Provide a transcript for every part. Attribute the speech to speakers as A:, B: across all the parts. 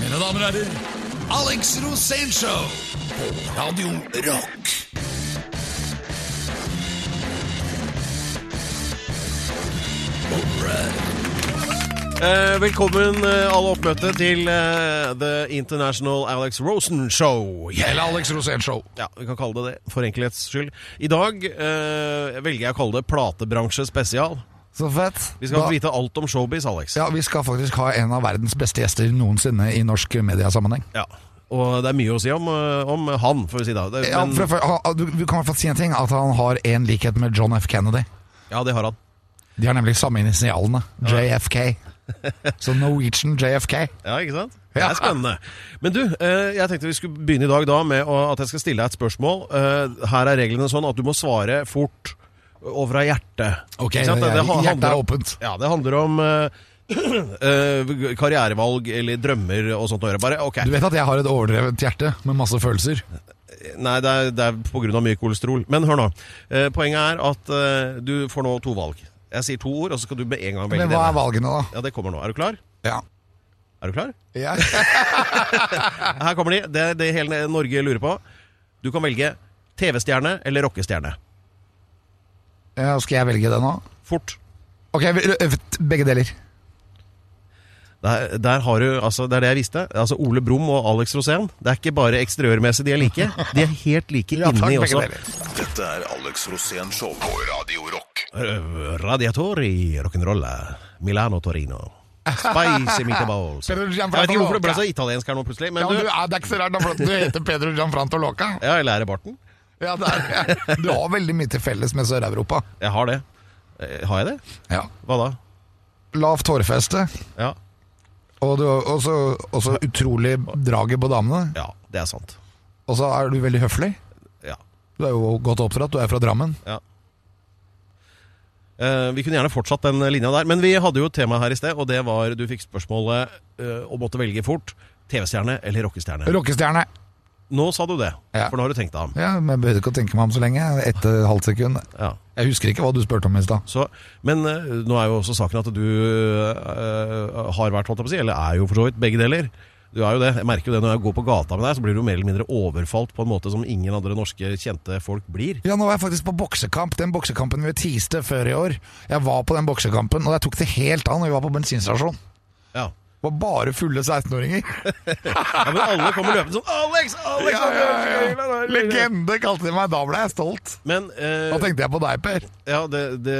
A: Mine damer og herrer, Alex Rosénshow på Radio Rock.
B: Eh, velkommen eh, alle oppmøtte til eh, The International Alex Rosen Show. Yeah.
A: Eller Alex Rosénshow.
B: Ja, vi kan kalle det det, for enkelhets skyld. I dag eh, velger jeg å kalle det platebransje spesial.
C: Så fett.
B: Vi skal
C: da,
B: vite alt om showbiz, Alex.
C: ja, vi skal faktisk ha en av verdens beste gjester noensinne i norsk mediesammenheng.
B: Ja. Og det er mye å si om, eh, om han, får vi si da. Det,
C: Ja,
B: men,
C: for, for, ha- du, du kan i hvert fall si en ting, at han har en likhet med John F. Kennedy.
B: ja, det har han.
C: De har nemlig samme initialene. JFK. Så Norwegian JFK.
B: Ja, ikke sant? Det
C: Ja.
B: er spennende. Men du, eh, jeg tenkte vi skulle begynne i dag da med å- at jeg skal stille deg et spørsmål. Eh, Her er reglene sånn at du må svare fort og fra hjertet. Ikke sant? Det- det ha-
C: Eh, Hjertet
B: handler
C: er
B: om-
C: åpent.
B: Ja, det handler om eh, eh, karrierevalg eller drømmer og sånt. å gjøre. Bare, ok,
C: Du vet at jeg har et overdrevent hjerte med masse følelser.
B: Nei, det er, det er på grunn av mye kolesterol. Men hør nå. Eh, poenget er at eh, du får nå to valg. Jeg sier to ord, og så skal du med en gang velge
C: Men hva er
B: det.
C: valgene, da?
B: Ja, det kommer nå. Er du klar?
C: Ja.
B: Er du klar?
C: Ja.
B: Her kommer de. Det er det hele Norge lurer på. Du kan velge TV-stjerne eller rockestjerne.
C: Ja, Skal jeg velge det nå?
B: Fort.
C: Ok, vi- ø- begge deler.
B: Der, der har du, altså, det er det jeg visste. Altså Ole Brumm og Alex Rosén. Det er ikke bare eksteriørmessig de er like. De er helt like
C: Ja, takk,
B: inni
C: begge
B: også.
C: deler.
D: Dette er Alex Rosén Show på Radio Rock.
B: Eh, Radiatori rock'n'rolla. Milano Torino. Spicy meatballs. Jeg
C: Pedro
B: vet
C: Gianfranco
B: ikke hvorfor det ble
C: Loca.
B: så italiensk her nå plutselig.
C: Ja,
B: Men
C: men du,
B: du,
C: er- det er ikke så rart, da, for at du heter Pedro Gianfranto Loca.
B: ja, eller er det barten?
C: Ja, det er, du har veldig mye til felles med Sør-Europa.
B: Jeg har det. Eh, Har jeg det?
C: Ja.
B: Hva da?
C: Lavt hårfeste,
B: Ja,
C: og du har også, også utrolig draget på damene.
B: ja det er sant.
C: Og så er du veldig høflig.
B: Ja.
C: Du er jo godt oppdratt, du er fra Drammen.
B: Eh, vi kunne gjerne fortsatt den linja der, men vi hadde jo et tema her i sted, og det var du fikk spørsmålet uh, og måtte velge fort. TV-stjerne eller rockestjerne?
C: Rockestjerne.
B: Nå sa du det,
C: Ja.
B: for nå har du tenkt deg om.
C: Ja, men jeg behøvde ikke å tenke meg om så lenge. Ett og et eh, halvt sekund.
B: Ja.
C: Jeg husker ikke hva du spurte om i stad.
B: Så, men eh, nå er jo også saken at du eh, har vært, holdt jeg på å si, eller er jo for så vidt begge deler. Du er jo det. Jeg merker jo det når jeg går på gata med deg, så blir du mer eller mindre overfalt på en måte som ingen andre norske kjente folk blir.
C: Ja, nå var jeg faktisk på boksekamp. Den boksekampen vi tiste før i år. Jeg var på den boksekampen, og jeg tok det helt an når vi var på bensinstasjon.
B: Ja.
C: Det var bare fulle 16-åringer.
B: ja, men alle kommer løpende sånn Alex! Alex!
C: Ja, ja,
B: Alex,
C: ja.
B: Alex, Alex!»
C: Legende kalte de meg. Da ble jeg stolt.
B: Men eh,
C: Da tenkte jeg på deg, Per.
B: Ja, det, det,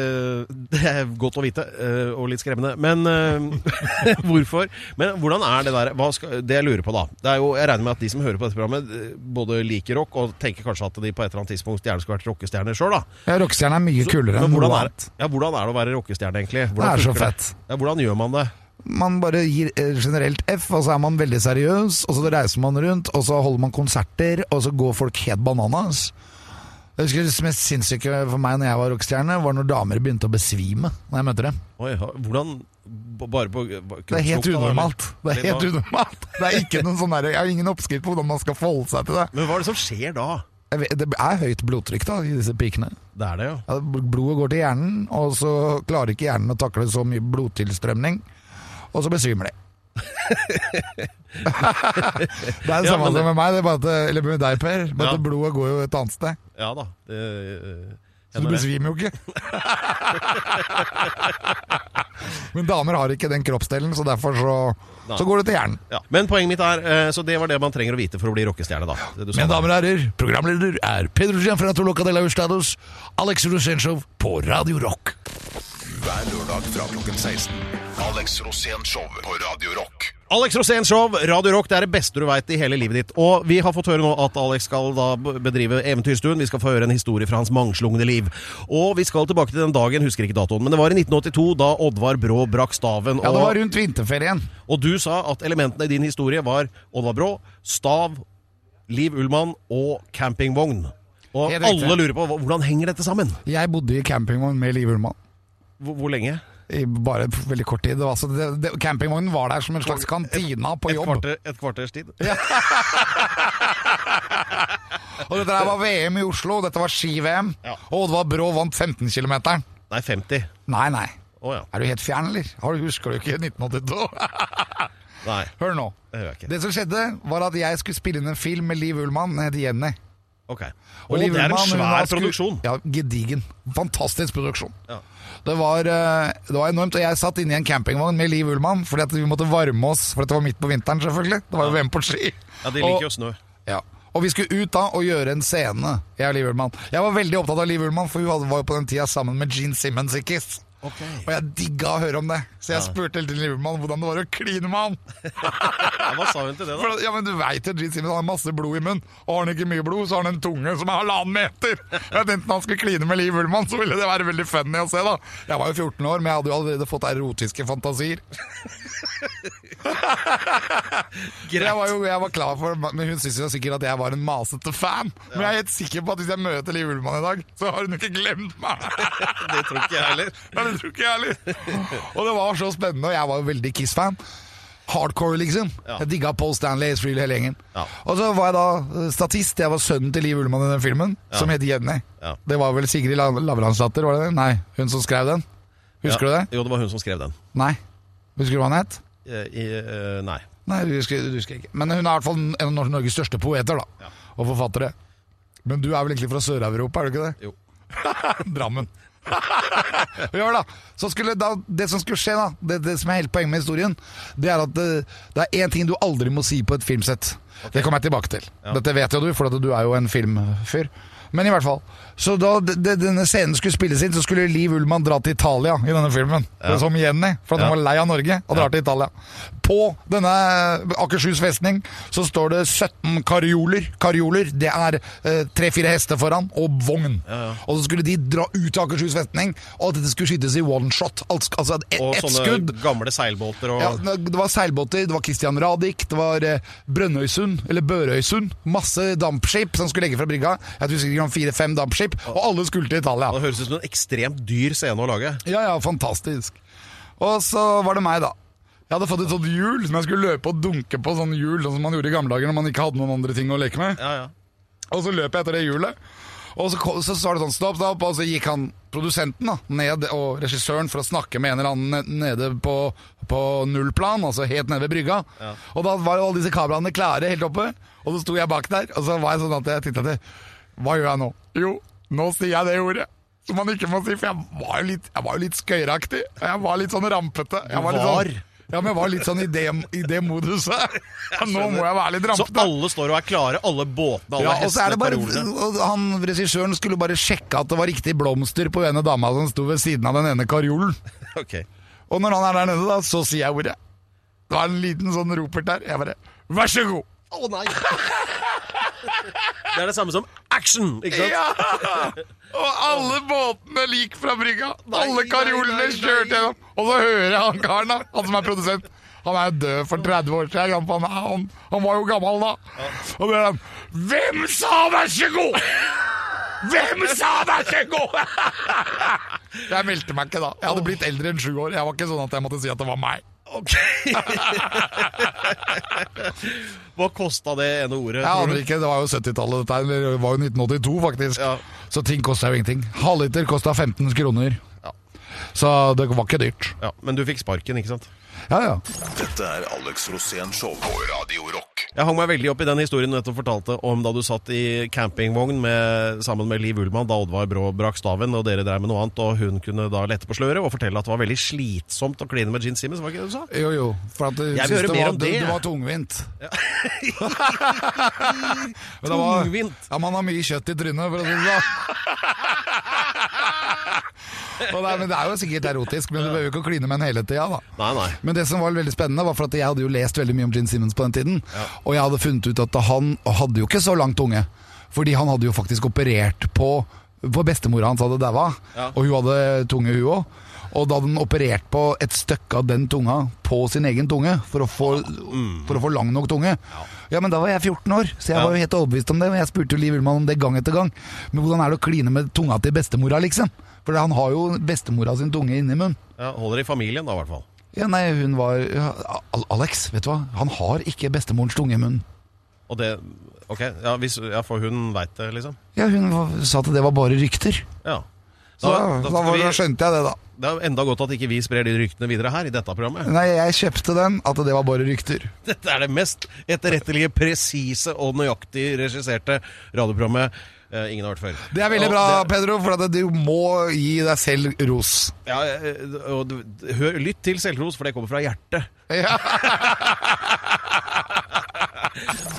B: det er godt å vite, eh, og litt skremmende. Men eh, hvorfor? Men hvordan er det der hva skal, Det jeg lurer på, da. Det er jo, jeg regner med at de som hører på dette programmet, eh, både liker rock og tenker kanskje at de på et eller annet tidspunkt gjerne skulle vært rockestjerner sjøl, da.
C: Ja, Rockestjerne er mye kulere enn
B: Men hvordan
C: noe
B: er,
C: annet.
B: ja, hvordan er det å være rockestjerne, egentlig?
C: Det
B: Hvordan
C: er så
B: funker
C: fett.
B: Ja, hvordan gjør man det?
C: Man bare gir eh, generelt F, og så er man veldig seriøs, og så reiser man rundt, og så holder man konserter, og så går folk helt bananas. Jeg husker Det mest sinnssyke for meg når jeg var rockestjerne, var når damer begynte å besvime når jeg møtte dem.
B: Oi, ha- hvordan b- Bare på
C: Det er helt unormalt. Det er helt
B: Litt
C: unormalt. Det er ikke noen sånn der, Jeg har ingen oppskrift på hvordan man skal forholde seg til det.
B: Men hva er det som skjer da?
C: Jeg vet, det er høyt blodtrykk da, i disse pikene.
B: Det er det, ja.
C: Ja, Blodet går til hjernen, og så klarer ikke hjernen å takle så mye blodtilstrømning. Og så besvimer de. det er det
B: Ja,
C: samme
B: men det-
C: som med meg, det er bare at, eller med deg, Per. Bare
B: Ja.
C: at blodet går jo et annet sted.
B: Ja da. Det, eh,
C: Så du
B: hender det.
C: besvimer jo ikke. Men damer har ikke den kroppsdelen, så derfor så,
B: Nei.
C: så går det til hjernen.
B: Ja. Men poenget mitt er eh, Så det var det man trenger å vite for å bli rockestjerne, da. Det du sa
C: Mine
B: da.
C: damer og herrer, programleder er Pedro Gianfranto Locadella Ustados, Alex Rosenshov på Radio Rock.
D: Hver lørdag fra klokken 16. Alex Rosén Show på Radio Rock.
B: Alex Rosén Show, Radio Rock, det er det beste du veit i hele livet ditt. Og vi har fått høre nå at Alex skal da bedrive eventyrstuen. Vi skal få høre en historie fra hans mangslungne liv. Og vi skal tilbake til den dagen, husker ikke datoen, men det var i 1982 da Oddvar Brå brakk staven.
C: Ja, det var
B: Og,
C: rundt vinterferien.
B: og du sa at elementene i din historie var Oddvar Brå, stav, Liv Ullmann og campingvogn. Og
C: Helt riktig.
B: alle lurer på hva- hvordan henger dette sammen?
C: Jeg bodde i campingvogn med Liv Ullmann.
B: Hvor, hvor lenge?
C: I bare f- veldig kort tid. Det var, altså, det, det, campingvognen var der som en slags kantina på
B: Et,
C: jobb.
B: kvarter, et kvarters tid?
C: Og dette her var VM i Oslo, dette var ski-VM.
B: Ja.
C: Og Oddvar Brå vant 15 km.
B: Nei, 50.
C: Nei, nei.
B: Å ja.
C: Er du helt fjern, eller? Har du, husker du ikke 1982?
B: Nei,
C: Hør nå.
B: det gjør jeg ikke.
C: Det som skjedde, var at jeg skulle spille inn en film med Liv Ullmann, den heter Jenny.
B: Ok.
C: Og
B: Og
C: Liv
B: det er en
C: Ullmann, hun var
B: svær
C: sku-
B: produksjon.
C: Ja, gedigen. Fantastisk produksjon.
B: Ja.
C: Det var, eh, det var enormt, og jeg satt inne i en campingvogn med Liv Ullmann, fordi at vi måtte varme oss, for dette var midt på vinteren selvfølgelig. Det var jo VM på ski.
B: Ja, de
C: Og-
B: liker jo snø.
C: Ja. Og vi skulle ut da og gjøre en scene, jeg og Liv Ullmann. Jeg var veldig opptatt av Liv Ullmann, for hun hadde- var jo på den tida sammen med Gene Simmons i Kiss. Og jeg digga å høre om det, så jeg spurte hele tiden Liv Ullmann hvordan det var å kline med han.
B: Ja, hva sa hun til det, da?
C: For, ja, men du vet jo, Gene Simmons har masse blod i munnen. Og har han ikke mye blod, så har han en tunge som er halvannen meter. Jeg tenkte han skulle kline med Liv Ullmann, så ville det være veldig funny å se, da. Jeg var jo 14 år, men jeg hadde jo allerede fått erotiske fantasier. Jeg var jo jeg var klar for Men hun syntes jo sikkert at jeg var en masete fan. Men jeg er helt sikker på at hvis jeg møter Liv Ullmann i dag, så har hun ikke glemt meg.
B: Det tror ikke jeg heller.
C: Nei, det tror ikke jeg heller. Og det var så spennende, og jeg var jo veldig Kiss-fan. Hardcore, liksom.
B: Ja.
C: Jeg digga Paul Stanley, Ace Frehley, hele gjengen.
B: Ja.
C: Og så var jeg da eh, statist. Jeg var sønnen til Liv Ullmann i den filmen, som het Jenny.
B: Ja.
C: Det var vel Sigrid La- Lavransdatter, var det det? Nei, hun som skrev den. Husker
B: Ja.
C: du det?
B: Jo, det var hun som skrev den.
C: Nei. Husker du hva han het?
B: Eh, I, eh, nei.
C: Nei, du husker, du husker ikke. Men hun er i hvert fall en av Norges største poeter, da. Og forfattere. Men du er vel egentlig fra Sør-Europa, er du ikke det?
B: Jo.
C: Drammen. Og ja, da. Så skulle da, det som skulle skje, da, det, det som er hele poenget med historien, det er at det, det er én ting du aldri må si på et filmsett. Det kommer jeg tilbake til. Dette vet jo du, for at du er jo en filmfyr. Men i hvert fall. Så da d- d- denne scenen skulle spilles inn, så skulle Liv Ullmann dra til Italia i denne filmen. eh, Som Jenny, for at hun
B: Ja.
C: var lei av Norge og drar til Italia. På denne eh, Akershus festning så står det 17 karioler. Karioler, det er eh, tre-fire hester foran, og vogn. Og så skulle de dra ut til Akershus festning, og at dette skulle skytes i one shot. Alt, sk- altså ett
B: Og
C: et
B: sånne
C: skudd.
B: gamle seilbåter og
C: Ja, det var seilbåter, det var Christian Radich, det var eh, Brønnøysund, eller Børøysund. Masse dampskip som skulle legge fra brygga. Jeg husker ikke om fire-fem dampskip, og alle skulle til Italia.
B: Det høres ut som en ekstremt dyr scene å lage.
C: Ja, ja, fantastisk. Og så var det meg, da. Jeg hadde fått et sånt hjul som jeg skulle løpe og dunke på. sånn hjul, Sånn som man gjorde i gamle dager når man ikke hadde noen andre ting å leke med.
B: Ja, ja.
C: Og så løp jeg etter det hjulet. Og så, ko- så var det sånn stopp, stopp, og så gikk han produsenten da, ned, og regissøren for å snakke med en eller annen ne- nede på, på nullplan, altså helt nede ved brygga. Og da var jo alle disse kameraene klare helt oppe, og så sto jeg bak der, og så var jeg sånn at jeg tenkte at jeg, hva gjør jeg nå? Jo, nå sier jeg det ordet. Som man ikke må si, for jeg var jo litt, jeg var jo litt skøyeraktig. og Jeg var litt sånn rampete. Jeg litt
B: var?
C: Sånn, ja, men jeg var litt sånn i det, i det moduset. Nå må jeg være litt
B: Så
C: rampete.
B: alle står og er klare, alle båtene, alle
C: Ja, og så er
B: hestene,
C: det bare
B: parolene.
C: og han, Regissøren skulle bare sjekke at det var riktig blomster på ene dama som sto ved siden av den ene karjolen.
B: Ok.
C: Og når han er der nede, da, så sier jeg ordet. Det var en liten sånn ropert der. Jeg bare Vær så god!
B: Å nei! Det er det samme som action, ikke sant?
C: Ja! Og alle båtene lik fra brygga.
B: Nei,
C: alle
B: nei,
C: karjolene
B: nei,
C: kjørte
B: nei.
C: gjennom. Og så hører jeg han karen, da, han som er produsent. Han er jo død for 30 år siden. Han, han, han var jo gammel da. Og det er han Hvem sa vær så god?! Hvem sa vær så god?! Jeg meldte meg ikke da. Jeg hadde blitt eldre enn sju år. Jeg var ikke sånn at jeg måtte si at det var meg.
B: Ok. Hva kosta det ene ordet?
C: Jeg
B: tror du?
C: aner ikke, det var jo 70-tallet dette her, eller det var jo 1982 faktisk.
B: Ja.
C: Så ting kosta jo ingenting. Halvliter kosta 15 kroner. Så det var ikke dyrt.
B: Ja, men du fikk sparken, ikke sant?
C: Ja, ja.
D: Dette er Alex Rosén Show på Radio Rock.
B: Jeg hang meg veldig opp i den historien du nettopp fortalte om da du satt i campingvogn med, sammen med Liv Ullmann da Oddvar Brå brakk staven, og dere drev med noe annet, og hun kunne da lette på sløret og fortelle at det var veldig slitsomt å kline med Gene Simmons, var ikke det du sa?
C: Jo, jo. For at du
B: vil
C: synes
B: høre
C: det
B: mer
C: var,
B: om
C: du,
B: det,
C: du
B: jeg.
C: var tungvint. Men det var-
B: Tungvint!
C: Ja, man har mye kjøtt i trynet, for å si det sånn. Og det er- Men det er jo sikkert erotisk, men du behøver jo ikke å kline med en hele tida, da.
B: Nei, nei.
C: Men det som var veldig spennende var for at jeg hadde jo lest veldig mye om Gene Simmons på den tiden, og jeg hadde funnet ut at han hadde jo ikke så langt unge, fordi han hadde jo faktisk operert på, på bestemora hans hadde daua, og hun hadde tunge hun også. Og da hadde han operert på et støkke av den tunga på sin egen tunge, for å få, for å få lang nok tunge. Ja, men da var jeg 14 år, så jeg var jo helt overbevist om det, og jeg spurte jo Liv Ullmann om det gang etter gang. Men hvordan er det å kline med tunga til bestemora, liksom? For han har jo bestemora sin tunge inni munnen.
B: Ja, holder i familien da, i hvert fall.
C: Ja, nei, hun var ja, Al- Alex, vet du hva? Han har ikke bestemorens tunge i munnen.
B: Og det Ok, ja, hvis, ja for hun veit det, liksom?
C: Ja, hun var, sa at det var bare rykter.
B: Ja.
C: Så da,
B: Da- da skal
C: var,
B: vi-
C: da skjønte jeg det, da.
B: Det er jo enda godt at ikke vi sprer de ryktene videre her i dette programmet.
C: Nei, jeg kjøpte den at det var bare rykter.
B: Dette er det mest etterrettelige, presise og nøyaktig regisserte radioprogrammet eh, ingen har hørt før.
C: Det er veldig
B: Og
C: bra,
B: det-
C: Pedro, for at du må gi deg selv ros.
B: Ja, eh, og du- hør, lytt til selvros, for det kommer fra hjertet.
C: Ja.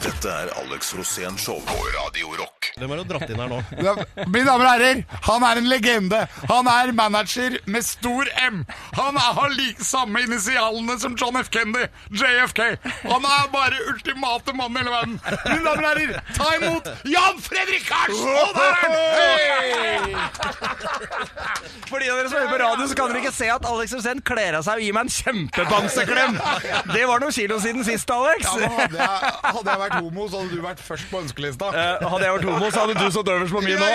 D: Dette er Alex Rosén Show på Radio Rock.
B: Hvem er det dratt inn her nå?
C: Ja, Mine damer og herrer, han er en legende. Han er manager med stor M. Han er- har like samme initialene som John F. Kennedy, JFK. Han er bare ultimate mannen i hele verden. Mine damer og herrer, ta imot Jan Fredrik Karlsen! Og der er han! Hey!
E: For de av dere som hører på radio, så kan dere ikke se at Alex Rosén kler av seg og gir meg en kjempebamseklem. Det var noen kilo siden sist, Alex.
C: hadde, jeg, vært homo, så hadde du vært først på ønskelista.
E: Eh, hadde jeg vært homo, så hadde du sittet øverst på min nå.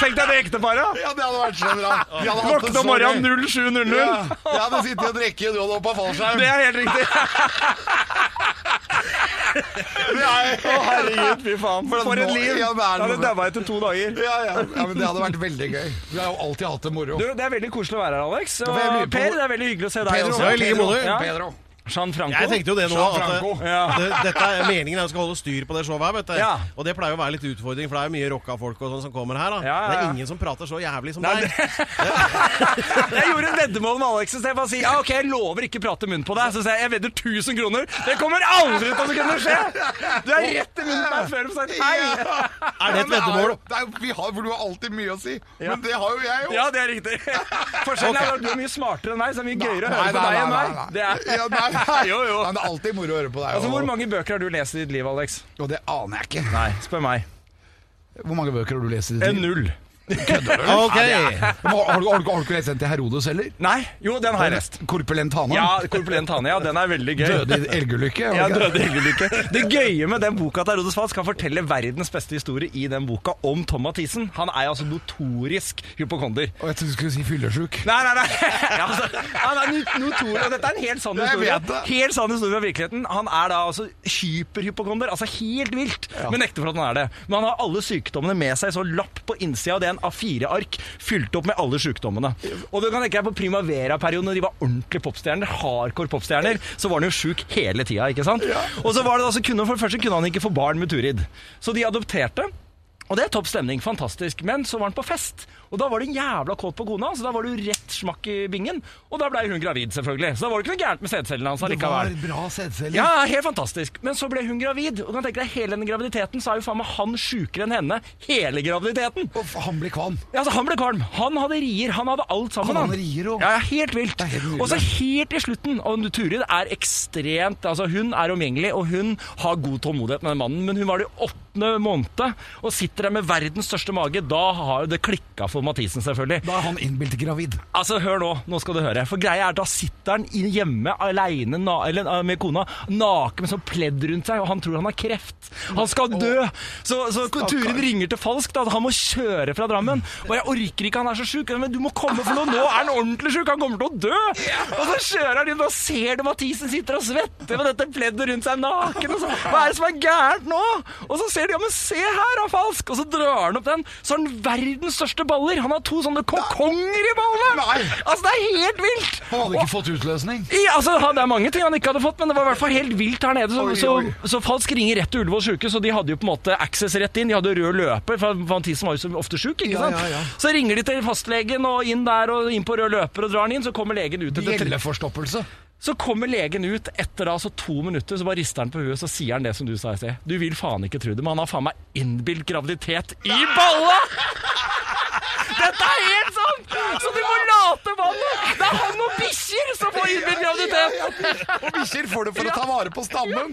E: Tenk deg det ekteparet.
C: Ja, det hadde vært så bra. altså,
E: Våkne om morgenen 07.00.
C: Jeg hadde sittet og drukket, og du hadde hoppa fallskjerm.
E: Det er helt riktig. Å, herregud, fy faen.
C: For
E: For
C: nå-
E: et liv.
C: Ja, det er
E: Jeg hadde
C: noe.
E: daua etter to dager.
C: Ja, ja. ja, men Det hadde vært veldig gøy. Vi har jo alltid hatt det moro.
E: Du, Det er veldig koselig å være her, Alex.
C: for jeg lurer
E: Og
C: på-
E: Per, det er veldig hyggelig å se deg
C: Pedro,
E: også.
B: Ja, i like måte.
E: Ja.
C: Pedro.
E: Jean Franco.
B: Jeg tenkte jo det nå at
C: Franco.
B: eh, det, dette er meningen er at vi skal holde styr på det showet her, vet du.
E: Ja.
B: Og det pleier å være litt utfordring, for det er jo mye rocka folk og sånn som kommer her. Da.
E: Ja, ja,
B: Det
E: ja.
B: er ingen som prater så jævlig som
E: Nei,
B: deg.
E: Jeg gjorde et veddemål med Alex i sted for å si ja, ok, jeg lover ikke å prate munn på deg. Så sa jeg jeg vedder 1000 kroner. Det kommer aldri til å kunne skje! Du er rett i munnen på meg før de sier hei.
B: Er det et veddemål?
C: Det er, jo- vi har, for du har alltid mye å si,
E: Ja.
C: men det har jo jeg òg.
E: Ja, det er riktig. Forskjellen er at du er mye smartere enn meg, så det er mye gøyere å høre på deg enn meg. Det er...
C: ja, nei, nei.
E: Jo, jo.
C: Nei, det er alltid moro å høre på deg.
E: Altså,
C: og-
E: Hvor mange bøker har du lest i ditt liv, Alex?
C: Og det aner jeg ikke.
E: Nei, spør meg.
C: Hvor mange bøker har du lest i ditt liv?
E: null.
B: Ok.
C: Men Har, har, du- har, du- har du ikke lest den til Herodes heller?
E: Nei, jo, den har jeg lest.
C: Korpulent hane?
E: Ja, Korpulent Hane, ja. Den er veldig gøy.
C: Døde i elgulykke? har du
E: Ja,
C: ikke det?
E: døde hyggelukke. Det gøye med den boka til Herodes Falsk, han forteller verdens beste historie i den boka om Tom Mathisen. Han er altså notorisk hypokonder.
C: Og jeg trodde du skulle si fyllesjuk.
E: Nei, nei, nei! Ja, altså, han er not- notorisk, og dette er en helt sann
C: Jeg
E: historie.
C: vet det.
E: Helt sann historie fra virkeligheten. Han er da altså hyperhypokonder, altså helt vilt, men nekter for at han er det. Men han har alle sykdommene med seg, så lapp på innsida av det er en A4-ark fylt opp med alle sykdommene. Og du kan tenke deg på Primavera-perioden, da de var ordentlige popstjerner, hardcore popstjerner, så var han jo sjuk hele tida, ikke sant? Og så var det da, så kunne, for det første kunne han ikke få barn med Turid, så de adopterte. Og det er topp stemning, fantastisk. Men så var han på fest, og da var du jævla kåt på kona, så da var du rett smakk i bingen. Og da blei hun gravid, selvfølgelig. Så da var det ikke noe gærent med sædcellene hans allikevel.
C: bra sædceller.
E: Ja, helt fantastisk. Men så ble hun gravid, og du kan tenke deg hele den graviditeten, så er jo faen meg han sjukere enn henne hele graviditeten.
C: Og f- han blir kvalm.
E: Ja, altså, han ble kvalm. Han hadde rier. Han hadde alt sammen.
C: Han hadde rier også.
E: Ja, ja, helt vilt.
C: Det er helt nydelig.
E: Og så helt i slutten. Og Turid er ekstremt Altså, hun er omgjengelig, og hun har god tålmodighet med den mannen, men hun var det i åttende måned og sitter der med verdens største mage. Da har jo det klikka for Mathisen, selvfølgelig.
C: Da er han innbilt gravid.
E: Altså, hør nå, nå skal du høre. For greia er at da sitter han i- hjemme aleine na eller, eh, med kona, naken med sånn pledd rundt seg, og han tror han har kreft. Han skal dø! Så, så Turid ringer til Falsk, da. at Han må kjøre fra Drammen. Og jeg orker ikke, han er så sjuk. Men du må komme, for nå, nå er han ordentlig sjuk! Han kommer til å dø! Og så kjører han inn, og ser du Mathisen sitter og svetter med dette pleddet rundt seg naken. Og så, Hva er det som er gærent nå? Og så ser de, ja, men se her, da, Falsk! Og så drar han opp den, så har han verdens største baller! Han har to sånne kokonger i ballene!
C: Nei.
E: Altså, det er helt vilt!
C: Han hadde
E: Og-
C: ikke fått utløsning.
E: I, altså, han, det er mange ting han ikke hadde fått, men det var i hvert fall helt vilt her nede. Så,
C: Oi,
E: så,
C: oi.
E: så Falsk ringer rett til Ullevål sykehus, og de hadde jo på en måte access rett inn. De hadde rød løper, for Mathisen var jo så ofte sjuk, ikke sant?
C: ja, ja.
E: Så ringer de til fastlegen og inn der og inn på rød løper og drar han inn, så kommer legen ut etter tre
C: Gjelleforstoppelse.
E: Så kommer legen ut etter da, så to minutter, så bare rister han på huet, så sier han det som du sa i sted. Du vil faen ikke tro det, men han har faen meg innbilt graviditet i balla! Dette er helt sånn! Så du må late vannet! Det er han og bikkjer som får innbilt graviditet!
C: Og bikkjer får du for å ta vare på stammen.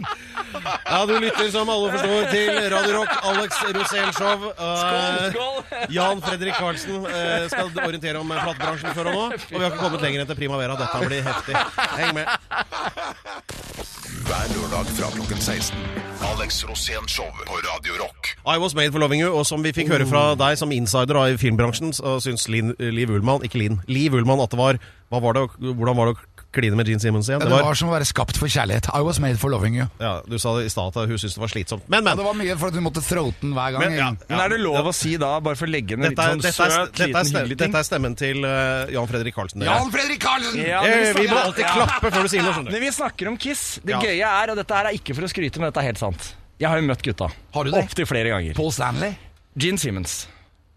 B: Ja, du lytter som alle forstår til Radio Rock, Alex Rosén Show. Eh, Jan Fredrik Karlsen eh, skal orientere om eh, platebransjen før og nå. Og vi har ikke kommet lenger enn til Primavera. Dette blir heftig. Heng med.
D: Hver lørdag fra klokken 16. Alex Rosén Show på Radio Rock.
B: I Was Made for Loving You, og som vi fikk høre
E: Oh.
B: fra deg som insider da, i filmbransjen, så syns Lin, Liv Ullmann Ikke Lin. Liv Ullmann at det var Hva var det? Hvordan var det å kline med Gene Simmons igjen.
C: Ja,
B: Det
C: det
B: var,
C: var som å være skapt for kjærlighet. I was made for loving you.
B: ja, du sa det i stad at hun syntes det var slitsomt. Men, men!
C: Det var mye for at du måtte throate den hver gang.
B: men ja,
E: Men er det lov å si da, bare for å legge ned litt
B: Dette er,
E: sånn
B: dette, er,
E: søt,
B: dette, er
E: liten,
B: stemmen,
E: hyggelig ting?
B: dette er stemmen til eh, Jan Fredrik Karlsen. dere.
C: Jan Fredrik Karlsen!
E: Ja, men
B: Eh,
E: vi
B: vi må
E: snakker-
B: alltid
E: sånn, ja.
B: klappe før du sier noe. skjønner
E: Når vi snakker om Kiss, det
B: Ja.
E: gøye er, og dette her er ikke for å skryte, men dette er helt sant. Jeg har jo møtt gutta.
C: Har du det?
E: Opptil flere ganger.
C: Paul Stanley.
E: Gene Simmons.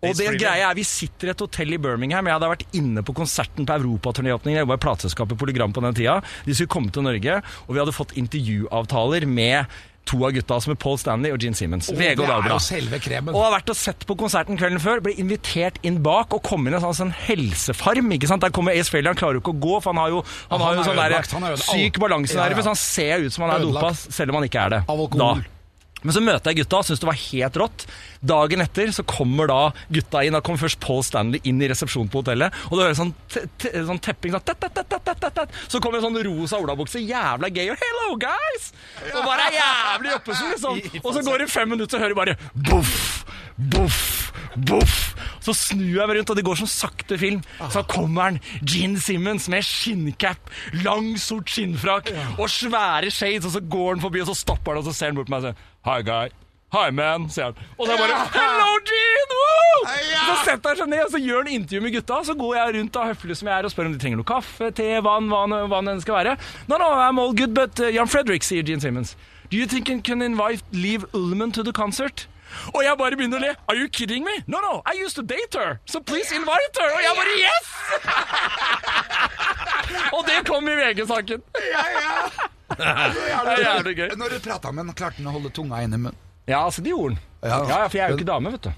E: Og
B: Ace
E: det
B: Frehley.
E: greia er, Vi sitter i et hotell i Birmingham. Jeg hadde vært inne på konserten på europaturnéåpningen. Jeg jobba i plateselskapet Polygram på den tida. De skulle komme til Norge, og vi hadde fått intervjuavtaler med to av gutta, som er Paul Stanley og Gene Simmons. VG og
C: det er
E: Dagbladet.
C: jo selve kremen.
E: Og har vært og sett på konserten kvelden før, ble invitert inn bak og kom inn i en sånn, sånn helsefarm. ikke sant? Der kommer Ace Failure, han klarer jo ikke å gå, for han har jo, han
C: Ja,
E: har
C: han
E: jo
C: er
E: sånn
C: ødelagt, han er
E: der
C: ødelagt.
E: syk
C: Ja, ja.
E: balansenerve, så han ser jo ut som han er dopa,
C: Ødelagt.
E: selv om han ikke er det.
C: Av alkohol.
E: Men så møter jeg gutta, syns det var helt rått. Dagen etter så kommer da gutta inn. Da kommer først Paul Stanley inn i resepsjonen på hotellet, og du hører sånn, te te sånn tepping sånn, tet, tet, tet, tet, tet, tet, tet. Så kommer en sånn rosa olabukse, jævla gay, og 'hello, guys'! Og bare er jævlig oppesen, liksom. Og så går det fem minutter, så hører du bare boff, boff, boff. Så snur jeg meg rundt, og det går som sakte film. Så kommer han, Gene Simmons, med skinncap, lang, sort skinnfrakk og svære shades, og så går han forbi, og så stopper han, og så ser han bort på meg og sier Hi, guy. Hi, man, sier han. Og så er jeg bare Hello, Gene! Woo! Så setter han seg ned, og så gjør han intervju med gutta. Så går jeg rundt da, høflig som jeg er, og spør om de trenger noe kaffe, te, vann, hva nå- hva nå enn skal være. No, no, I'm all good, but uh, Jan Fredrik, sier Gene Simmons. Do you think you can invite Liv Ullman to the concert? Og jeg bare begynner å le. Are you kidding me? No, no, I used to date her. So please invite her. Og jeg bare yes! og det kom i VG-saken. Det er jævlig gøy.
C: Når du prata med han, klarte han å holde tunga inni munnen?
E: Ja, altså, det gjorde han. Ja,
C: Ja.
E: ja, for jeg er jo ikke dame, vet du.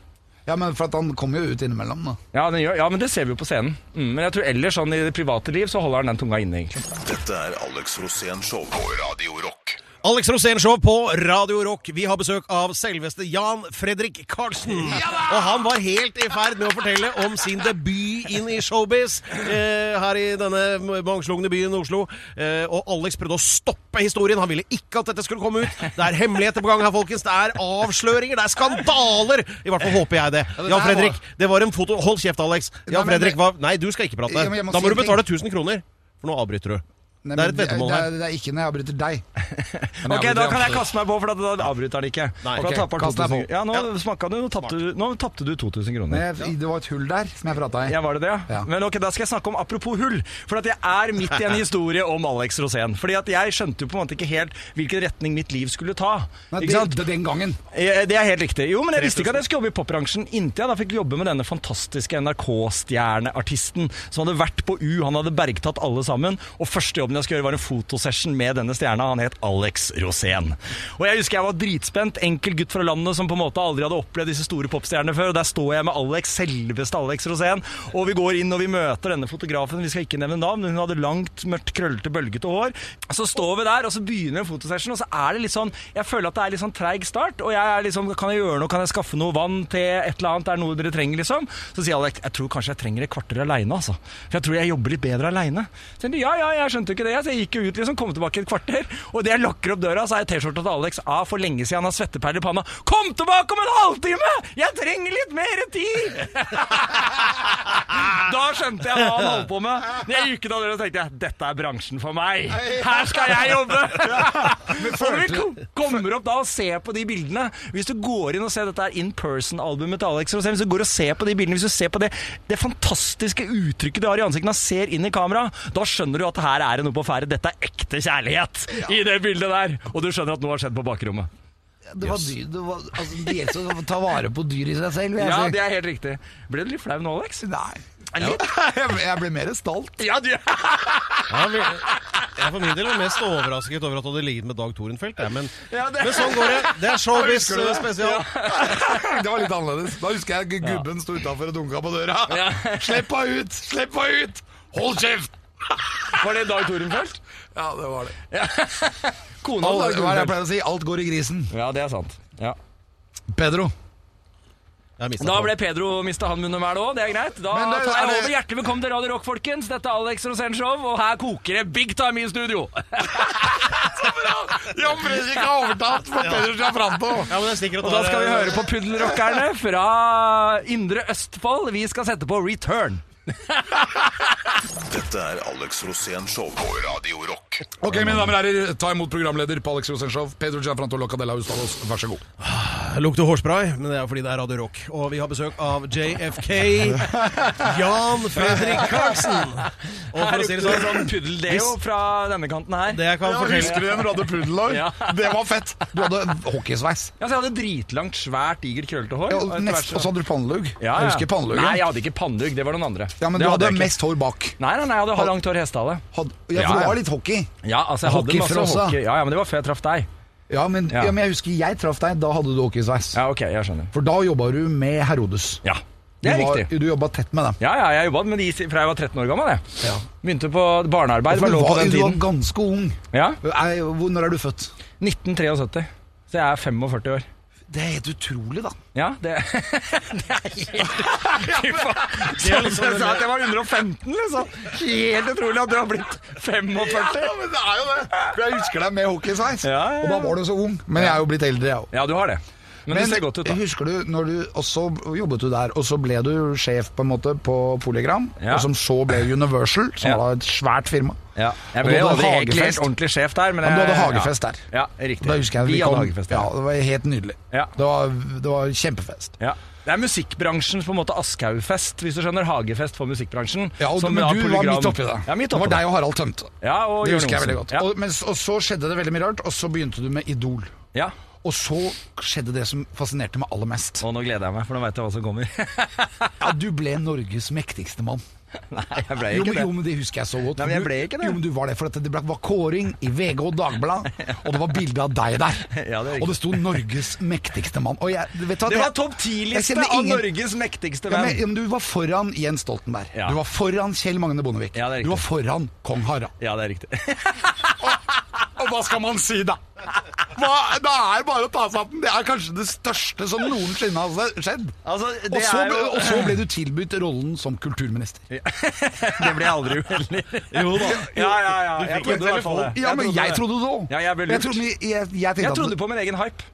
C: Ja, men for at han kommer jo ut innimellom, da.
E: Ja, den gjør, ja, men det ser vi jo på scenen. Mm, men jeg tror ellers sånn i det private liv så holder han den tunga inne, egentlig.
D: Dette er Alex Rosén Show på Radio Rock.
B: Alex Rosénshow på Radio Rock. Vi har besøk av selveste Jan Fredrik Karlsen. og han var helt i ferd med å fortelle om sin debut inn i showbiz eh, her i denne mangslungne byen Oslo. Eh, og Alex prøvde å stoppe historien. Han ville ikke at dette skulle komme ut. Det er hemmeligheter på gang her, folkens. Det er avsløringer. Det er skandaler. I hvert fall håper jeg det.
C: det
B: Jan
C: der
B: Fredrik,
C: var-
B: det var en foto Hold kjeft, Alex.
C: Nei,
B: Jan
C: men
B: Fredrik
C: det-
B: var Nei, du skal ikke prate.
C: Ja, men jeg må
B: Da
C: si
B: må
C: en
B: du
C: ting.
B: betale 1000 kroner, for nå avbryter du.
C: Nei,
B: Det er
C: men
B: et veddemål her.
C: Det er, det er ikke når jeg avbryter deg. Men jeg
E: Ok, da
C: avbryter
E: kan jeg
C: absolutt.
E: kaste meg på, for da da avbryter han ikke.
B: Nei.
E: For da
B: Ok,
E: tapper han
C: kast deg
E: 2000
C: på.
E: Ja, nå smakka du, nå tapte du, nå tapte du 2000 kroner.
C: Men jeg- Det var et hull der som jeg prata i.
E: Ja, var det det? ja?
C: Ja.
E: Men ok, Da skal jeg snakke om apropos hull. For at jeg er midt i en historie om Alex Rosén. Fordi at jeg skjønte jo på en måte ikke helt hvilken retning mitt liv skulle ta.
C: Nei,
E: ikke sant?
C: det, den gangen.
E: Eh, Det er helt riktig. Jo, men jeg visste ikke at jeg skulle jobbe i popbransjen inntil jeg da fikk jobbe med denne fantastiske NRK-stjerneartisten som hadde vært på U, han hadde bergtatt alle sammen, og første jobben jeg skulle gjøre var en fotosession med denne stjerna, han het Alex Rosén. Og jeg husker jeg var dritspent, enkel gutt fra landet som på en måte aldri hadde opplevd disse store popstjernene før, og der står jeg med Alex, selveste Alex Rosén, og vi går inn og vi møter denne fotografen, vi skal ikke nevne navn, men hun hadde langt, mørkt, krøllete, bølgete hår. Så står vi der, og så begynner en fotosession, og så er det litt sånn, jeg føler at det er litt sånn treig start, og jeg er liksom, kan jeg gjøre noe, kan jeg skaffe noe vann til et eller annet, er det noe dere trenger liksom? Så sier Alex, jeg tror kanskje jeg trenger et kvarter alene, altså. For jeg tror jeg jobber litt bedre alene. Så jeg, ja, ja, jeg skjønte jo ikke det, så jeg gikk jo ut liksom, kom tilbake et kvarter, og det jeg lukker opp døra, så er t-skjorta til Alex av for lenge siden, han har svetteperler i panna. Kom tilbake om en halvtime! Jeg trenger litt mer tid! Da skjønte jeg hva han holdt på med. Når jeg gikk ut av døra, tenkte jeg dette er bransjen for meg. Her skal jeg jobbe! Og når vi ko- kommer opp da og ser på de bildene Hvis du går inn og ser dette er in person-albumet til Alex Rosén, hvis du går og ser på de bildene, hvis du ser på det, det fantastiske uttrykket du har i ansiktet når han ser inn i kamera, da skjønner du at her er det noe på ferde. Dette er ekte kjærlighet i det bildet der. Og du skjønner at noe har skjedd på bakrommet.
C: Det var dyr, det var, altså, det gjelder å ta vare på dyr i seg selv. vil Jeg,
E: Ja, altså-
C: si.
E: det er helt riktig. Ble du litt flau nå, Alex?
C: Nei.
E: Litt?
C: Jeg, ble- jeg ble mer stolt.
E: Ja, du...
B: Ja, vi, jeg for min del er mest overrasket over at du hadde ligget med Dag Torenfeldt. jeg, Men,
E: Ja, det-
B: men sånn går det. Det er showbiz eh, spesial.
C: Det var litt annerledes. Da husker jeg gu- gubben sto utafor og dunka på døra. Slipp meg ut! Slipp meg ut! Hold kjeft!
E: Var det Dag Torenfeldt?
C: Ja, det var det.
E: Kona
C: Alt, hva er
E: til Dag
C: det jeg
E: Torenfeldt.
C: pleier å si? Alt går i grisen.
E: Ja, det er sant. Ja.
C: Pedro.
B: Jeg mistet
E: Da
B: den.
E: ble Pedro mista han munnemælet òg, det er greit. Da
C: Men det-
E: tar jeg
C: er det-
E: over. Hjertelig velkommen til Radio Rock, folkens. Dette er Alex Rosén Show, og her koker det big time i studio.
C: Jan Fredrik har overtatt for Pedro Giafranto.
B: ja, men jeg stikker
E: Og da skal vi høre på Puddelrockerne fra Indre Østfold. Vi skal sette på Return.
D: Dette er Alex Rosén Show på Radio Rock.
F: Ok, mine damer og herrer, ta imot programleder på Alex Rosenshov, Pedro Gianfranto Locadella Ustalos, vær så god.
B: Jeg lukter hårspray, men det er fordi det er Radio Rock. Og vi har besøk av JFK, Jan Fredrik Karlsen. Og for å si det sånn
E: puddeldeo fra denne kanten her.
B: Det jeg kan fortelle
F: du den Radde Pudelår?
E: Ja.
F: Det var fett!
C: Du hadde hockeysveis.
E: Ja, så jeg hadde dritlangt, svært, digert, krøllete hår.
C: Ja,
E: og
C: og
E: etter hvert
C: nest-
E: så-
C: og så hadde du pannelugg.
E: Ja, ja.
C: Jeg husker panneluggen.
E: Nei, jeg hadde ikke pannelugg. Det var noen andre.
C: Ja, men
E: Det
C: du hadde
E: jeg ikke.
C: mest hår bak.
E: Nei, nei, nei, jeg hadde langt hår hestehale.
C: Hadde, ja,
E: Ja,
C: for
E: ja.
C: det var litt hockey.
E: Ja, altså, jeg hadde masse
C: Hockeyfrossa.
E: hockey. Ja, ja, men det var før jeg traff deg.
C: Ja men,
E: Ja.
C: ja. men jeg husker jeg traff deg, da hadde du hockeysveis.
E: Ja, ok, jeg skjønner.
C: For da jobba du med Herodes.
E: Ja, det er
C: du var-
E: riktig.
C: Du jobba tett med dem.
E: Ja, ja, jeg jobba med de si- fra jeg var 13 år gammel. Jeg. Begynte på barnearbeid.
C: du,
E: Var lov på
C: var,
E: den
C: du var
E: tiden.
C: ganske ung.
E: Ja,
C: Nei, hvor- Når er du født?
E: 1973. Så jeg er 45 år.
C: Det er helt utrolig, da.
E: Ja, det, det er helt Fy faen. Sånn som jeg sa at jeg var 115, liksom. Helt utrolig at du har blitt 45.
C: men det er jo det. For jeg husker deg med hockeysveis.
E: Ja, ja, ja.
C: Og da var du så ung. Men jeg er jo blitt eldre, jeg òg.
E: Ja, du har det. Men, det ser godt ut, da.
C: husker du når du Og så jobbet du der, og så ble du sjef på en måte på Polygram,
E: Ja.
C: og som så ble Universal, som
E: Ja.
C: var da et svært firma.
E: Ja. Jeg
C: Og
E: ble
C: du
E: jo
C: hadde
E: aldri egentlig
C: hagefest.
E: helt ordentlig sjef der, men
C: Men
E: jeg,
C: du hadde hagefest der.
E: Ja, ja riktig.
C: Da husker jeg
E: Vi
C: vi
E: hadde
C: kom-
E: hagefest
C: Ja,
E: der.
C: det var helt nydelig.
E: Ja.
C: Det, var, det var kjempefest.
E: Ja. Det er musikkbransjens på en måte Aschhaugfest, hvis du skjønner. Hagefest for musikkbransjen.
C: Ja, og,
E: som
C: men
E: da
C: du var
E: Polygram-
C: midt oppi det.
E: Ja, midt
C: det
E: oppi
C: var
E: det.
C: deg og Harald Tømte.
E: Ja, og
C: Det
E: Jørn
C: husker jeg veldig
E: Olsen.
C: godt. Og, men, s- og så skjedde det veldig mye rart, og så begynte du med Idol.
E: Ja. ja.
C: Og så skjedde det som fascinerte meg aller mest.
E: Og nå gleder jeg meg, for nå veit jeg hva som kommer.
C: Ja, du ble Norges mektigste mann.
E: Nei, jeg ble
C: Jo,
E: ikke
C: men,
E: det.
C: jo, men det husker jeg så godt.
E: Nei, men jeg
C: Du-
E: ble ikke det.
C: Jo, men du var det, for at det ble- var kåring i VG og Dagbladet, og det var bilde av deg der.
E: Ja, det er riktig.
C: og det sto 'Norges mektigste mann'. Og jeg, vet du hva,
E: Det var
C: jeg-
E: topp
C: jeg
E: ti-liste
C: kjenner
E: av
C: ingen-
E: Norges
C: ja,
E: mektigste
C: men,
E: menn.
C: ja, men Du var foran Jens Stoltenberg.
E: Ja.
C: Du var foran Kjell Magne Bondevik.
E: Ja, det er
C: du
E: riktig.
C: var foran kong Harald.
E: Ja, det er riktig.
C: Og hva skal man si, da? Hva, det er bare å ta seg av den. Det er kanskje det største som noensinne har skjedd.
E: Altså,
C: Og
E: det
C: så,
E: er
C: ble,
E: jo
C: og så ble du tilbudt rollen som kulturminister.
E: Det ble jeg aldri uheldig.
B: Jo da.
E: Ja, ja, ja.
B: fikk
E: Jeg
B: en
E: trodde i hvert fall det.
C: Ja, men jeg
E: det.
C: trodde det òg.
E: Ja, jeg ble lurt.
C: trodde, jeg, jeg, tenkte
E: Jeg
C: at-
E: trodde på min egen hype.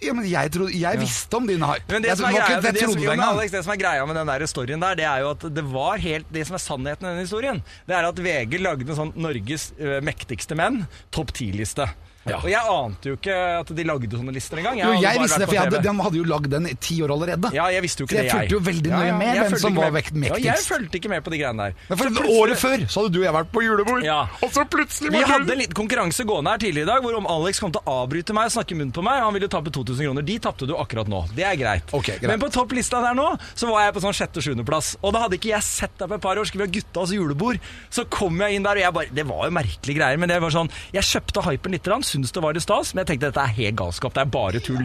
C: Ja, men jeg, trodde, jeg visste om din hype.
E: Men det,
C: jeg
E: som er
C: var
E: greia,
C: ikke- jeg
E: det, som,
C: trodde det
E: jo, men
C: engang.
E: Alex, det som er greia med den der storyen der, det er jo at det var helt Det som er sannheten i den historien, det er at VG lagde en sånn Norges ø, mektigste menn, topp ti-liste. Og jeg ante jo ikke at de lagde sånne lister engang.
C: Jo,
E: hadde
C: jeg
E: bare
C: visste
E: vært
C: det, for jeg
E: på
C: hadde,
E: TV.
C: de hadde jo lagd den i ti år allerede.
E: ja, jeg visste jo
C: Så
E: ikke det,
C: jeg fulgte jo veldig nøye med
E: jeg
C: hvem
E: fulgte
C: som
E: ikke
C: var
E: med.
C: vekt
E: Ja, jeg
C: mektigst.
E: fulgte ikke med på de greiene der.
C: Men for
E: Så
C: Året
E: plutselig-
C: før så hadde du og jeg vært på julebord,
E: Ja.
C: og så plutselig
E: Vi
C: var du
E: hadde litt konkurranse gående her tidligere i dag, hvor om Alex kom til å avbryte meg og snakke i munnen på meg. Han ville tape 2000 kroner. De tapte du akkurat nå. Det er greit.
C: Ok, greit.
E: Men på topplista der nå, så var jeg på sånn sjette-sjuendeplass. Og da hadde ikke jeg sett deg på et par år. Skulle vi ha guttas julebord? Så kom jeg inn der, og jeg bare Det var jo merkelige greier, men det var sånn Jeg kjøpte hypen litt, grann, syntes det var litt stas, men jeg tenkte dette er helt galskap. Det er bare tull.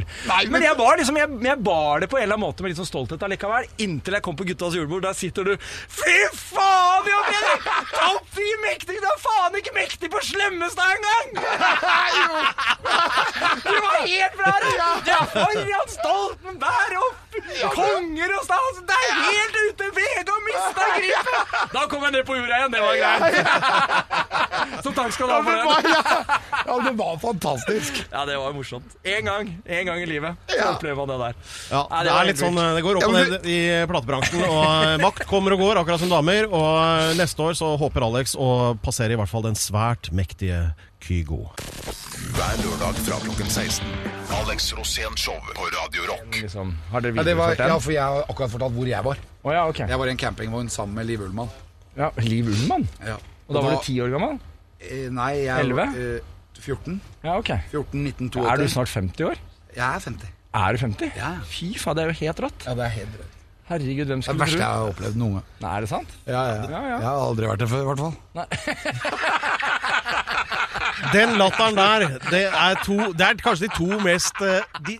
E: men... jeg var liksom Jeg, jeg bar det på en eller annen måte med litt sånn stolthet allikevel, inntil jeg kom på guttas julebord. Der sitter du Fy faen, Jan Erik! Topp fy mektig! Du er faen ikke mektig på Slemmestad engang! Du var helt fra deg! Du er foran Stoltenberg og konger og stas! Det er helt ute! VG har mista gripen! Da kom jeg ned på jorda igjen, det var greit. Så takk skal du ha
C: Det
E: for
C: var-
E: den.
C: ja. ja, det var fantastisk.
E: Ja, det var morsomt. Én gang en gang i livet så
C: Ja.
E: opplever man det der.
B: Ja,
E: Nei,
B: det
E: var
B: er litt
E: helt
B: sånn, det går opp
C: Ja,
B: og
C: men
B: ned i platebransjen. Og eh, makt kommer og går, akkurat som damer. Og eh, neste år så håper Alex å passere i hvert fall den svært mektige Kygo.
D: Hver lørdag fra klokken 16. Alex Rosén Show på Radio Rock.
E: Liksom, har dere
C: Ja, det var,
E: videreført den?
C: ja, for jeg har akkurat fortalt hvor jeg var.
E: Å ja, ok.
C: Jeg var i en campingvogn sammen med Liv Ullmann.
E: Ja, Liv Ullmann?
C: Ja.
E: Og da var du ti år gammel?
C: eh, Nei, jeg
E: Elleve?
C: eh, 14.
E: Ja, ok.
C: 14, 19,
E: Er du snart 50 år?
C: Jeg er 50.
E: Er du 50?
C: Ja.
E: Fy faen, det er jo helt rått.
C: Ja, det er helt drøyt. Det
E: Herregud,
C: er
E: hvem
C: det
E: skulle
C: verste
E: tro?
C: jeg har opplevd noen gang.
E: Nei, er det sant?
C: Ja, ja.
E: ja.
C: Jeg har aldri vært det før, i hvert fall.
B: Den latteren der, det er, to, det er kanskje de to mest eh, de,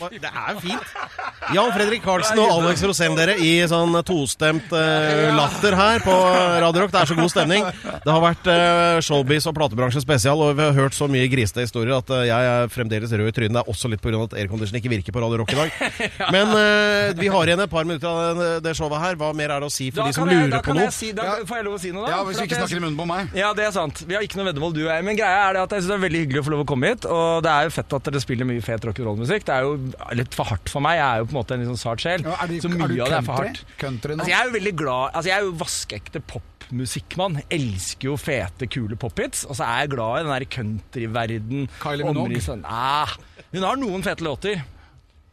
B: hva- Det er fint. Jan Fredrik Karlsen og Alex Rosén, dere, i sånn tostemt eh, latter her på Radio Rock. Det er så god stemning. Det har vært eh, showbiz og platebransje spesial, og vi har hørt så mye grisete historier at eh, jeg er fremdeles rød i trynet. Det er også litt pga. at aircondition ikke virker på Radio Rock i dag. Men eh, vi har igjen et par minutter av den- eh, det showet her. Hva mer er det å si for
E: Da
B: de som
E: kan jeg-
B: lurer
E: da
B: på
E: kan
B: noe?
E: jeg si, da
C: Ja.
E: får jeg lov å si noe, da? For at jeg-
C: munnen på meg.
E: Ja, det er sant. Vi har ikke noe veddemål, du og jeg. Men greia er det at jeg synes det er veldig hyggelig å få lov å komme hit. Og det er jo fett at dere spiller mye fet rock'n'roll-musikk. Det er jo litt for hardt for meg. Jeg er jo på en måte en litt sånn sart sjel.
C: Ja, er du-
E: så mye
C: er du
E: av det er for
C: country?
E: hardt.
C: Country nå?
E: Altså, jeg er jo veldig glad Altså, jeg er jo vaskeekte popmusikkmann. Elsker jo fete, kule pophits. Og så er jeg glad i den der countryverden.
F: Kylie Minogue?
E: Omrisset- Ah, hun har noen fete låter.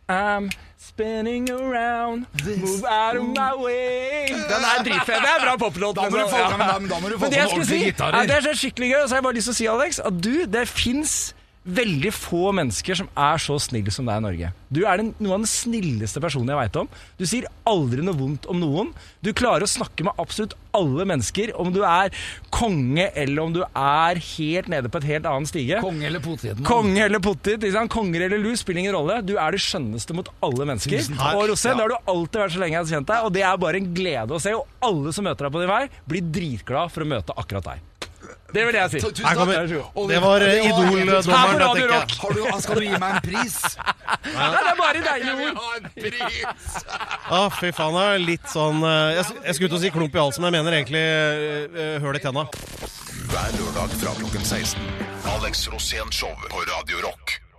E: I'm spinning around, move out of my way Den er dritfet. Det er bra poplåt. altså.
F: Da må du få
E: Ja.
F: fram- da- da må du få
E: Men det jeg
F: fram
E: skulle
F: ordentlige
E: si,
F: gitarer.
E: ja, det er så skikkelig gøy. Og så har jeg bare lyst til å si, Alex, at du, det fins veldig få mennesker som er så snille som deg i Norge. Du er den, noe av den snilleste personen jeg veit om. Du sier aldri noe vondt om noen. Du klarer å snakke med absolutt alle mennesker, om du er konge eller om du er helt nede på et helt annen stige.
C: Konge eller poteten?
E: Konge eller pottit, ikke sant? konger eller lus, spiller ingen rolle. Du er det skjønneste mot alle mennesker.
B: takk.
E: Og Rosén, det har du alltid vært så lenge jeg har kjent deg, og det er bare en glede å se. Og alle som møter deg på din vei, blir dritglad for å møte akkurat deg. Det vil jeg si.
F: Tusen
B: Her
F: takk.
B: kommer
F: Og vi-
B: Det var eh,
F: Ja,
E: Her
B: Idol-dommeren.
E: på
B: da
E: Radio
B: tenker jeg.
E: Rock.
C: Har du, skal du gi meg en pris?
E: Nei, det er bare deilige ord.
F: Ha en pris!
B: Å, fy faen. Det er litt sånn eh, Jeg, jeg skulle til å si klump i halsen, men jeg mener egentlig eh, eh, høl i tenna.
D: Hver lørdag fra klokken 16. Alex Rosén Show på Radio Rock.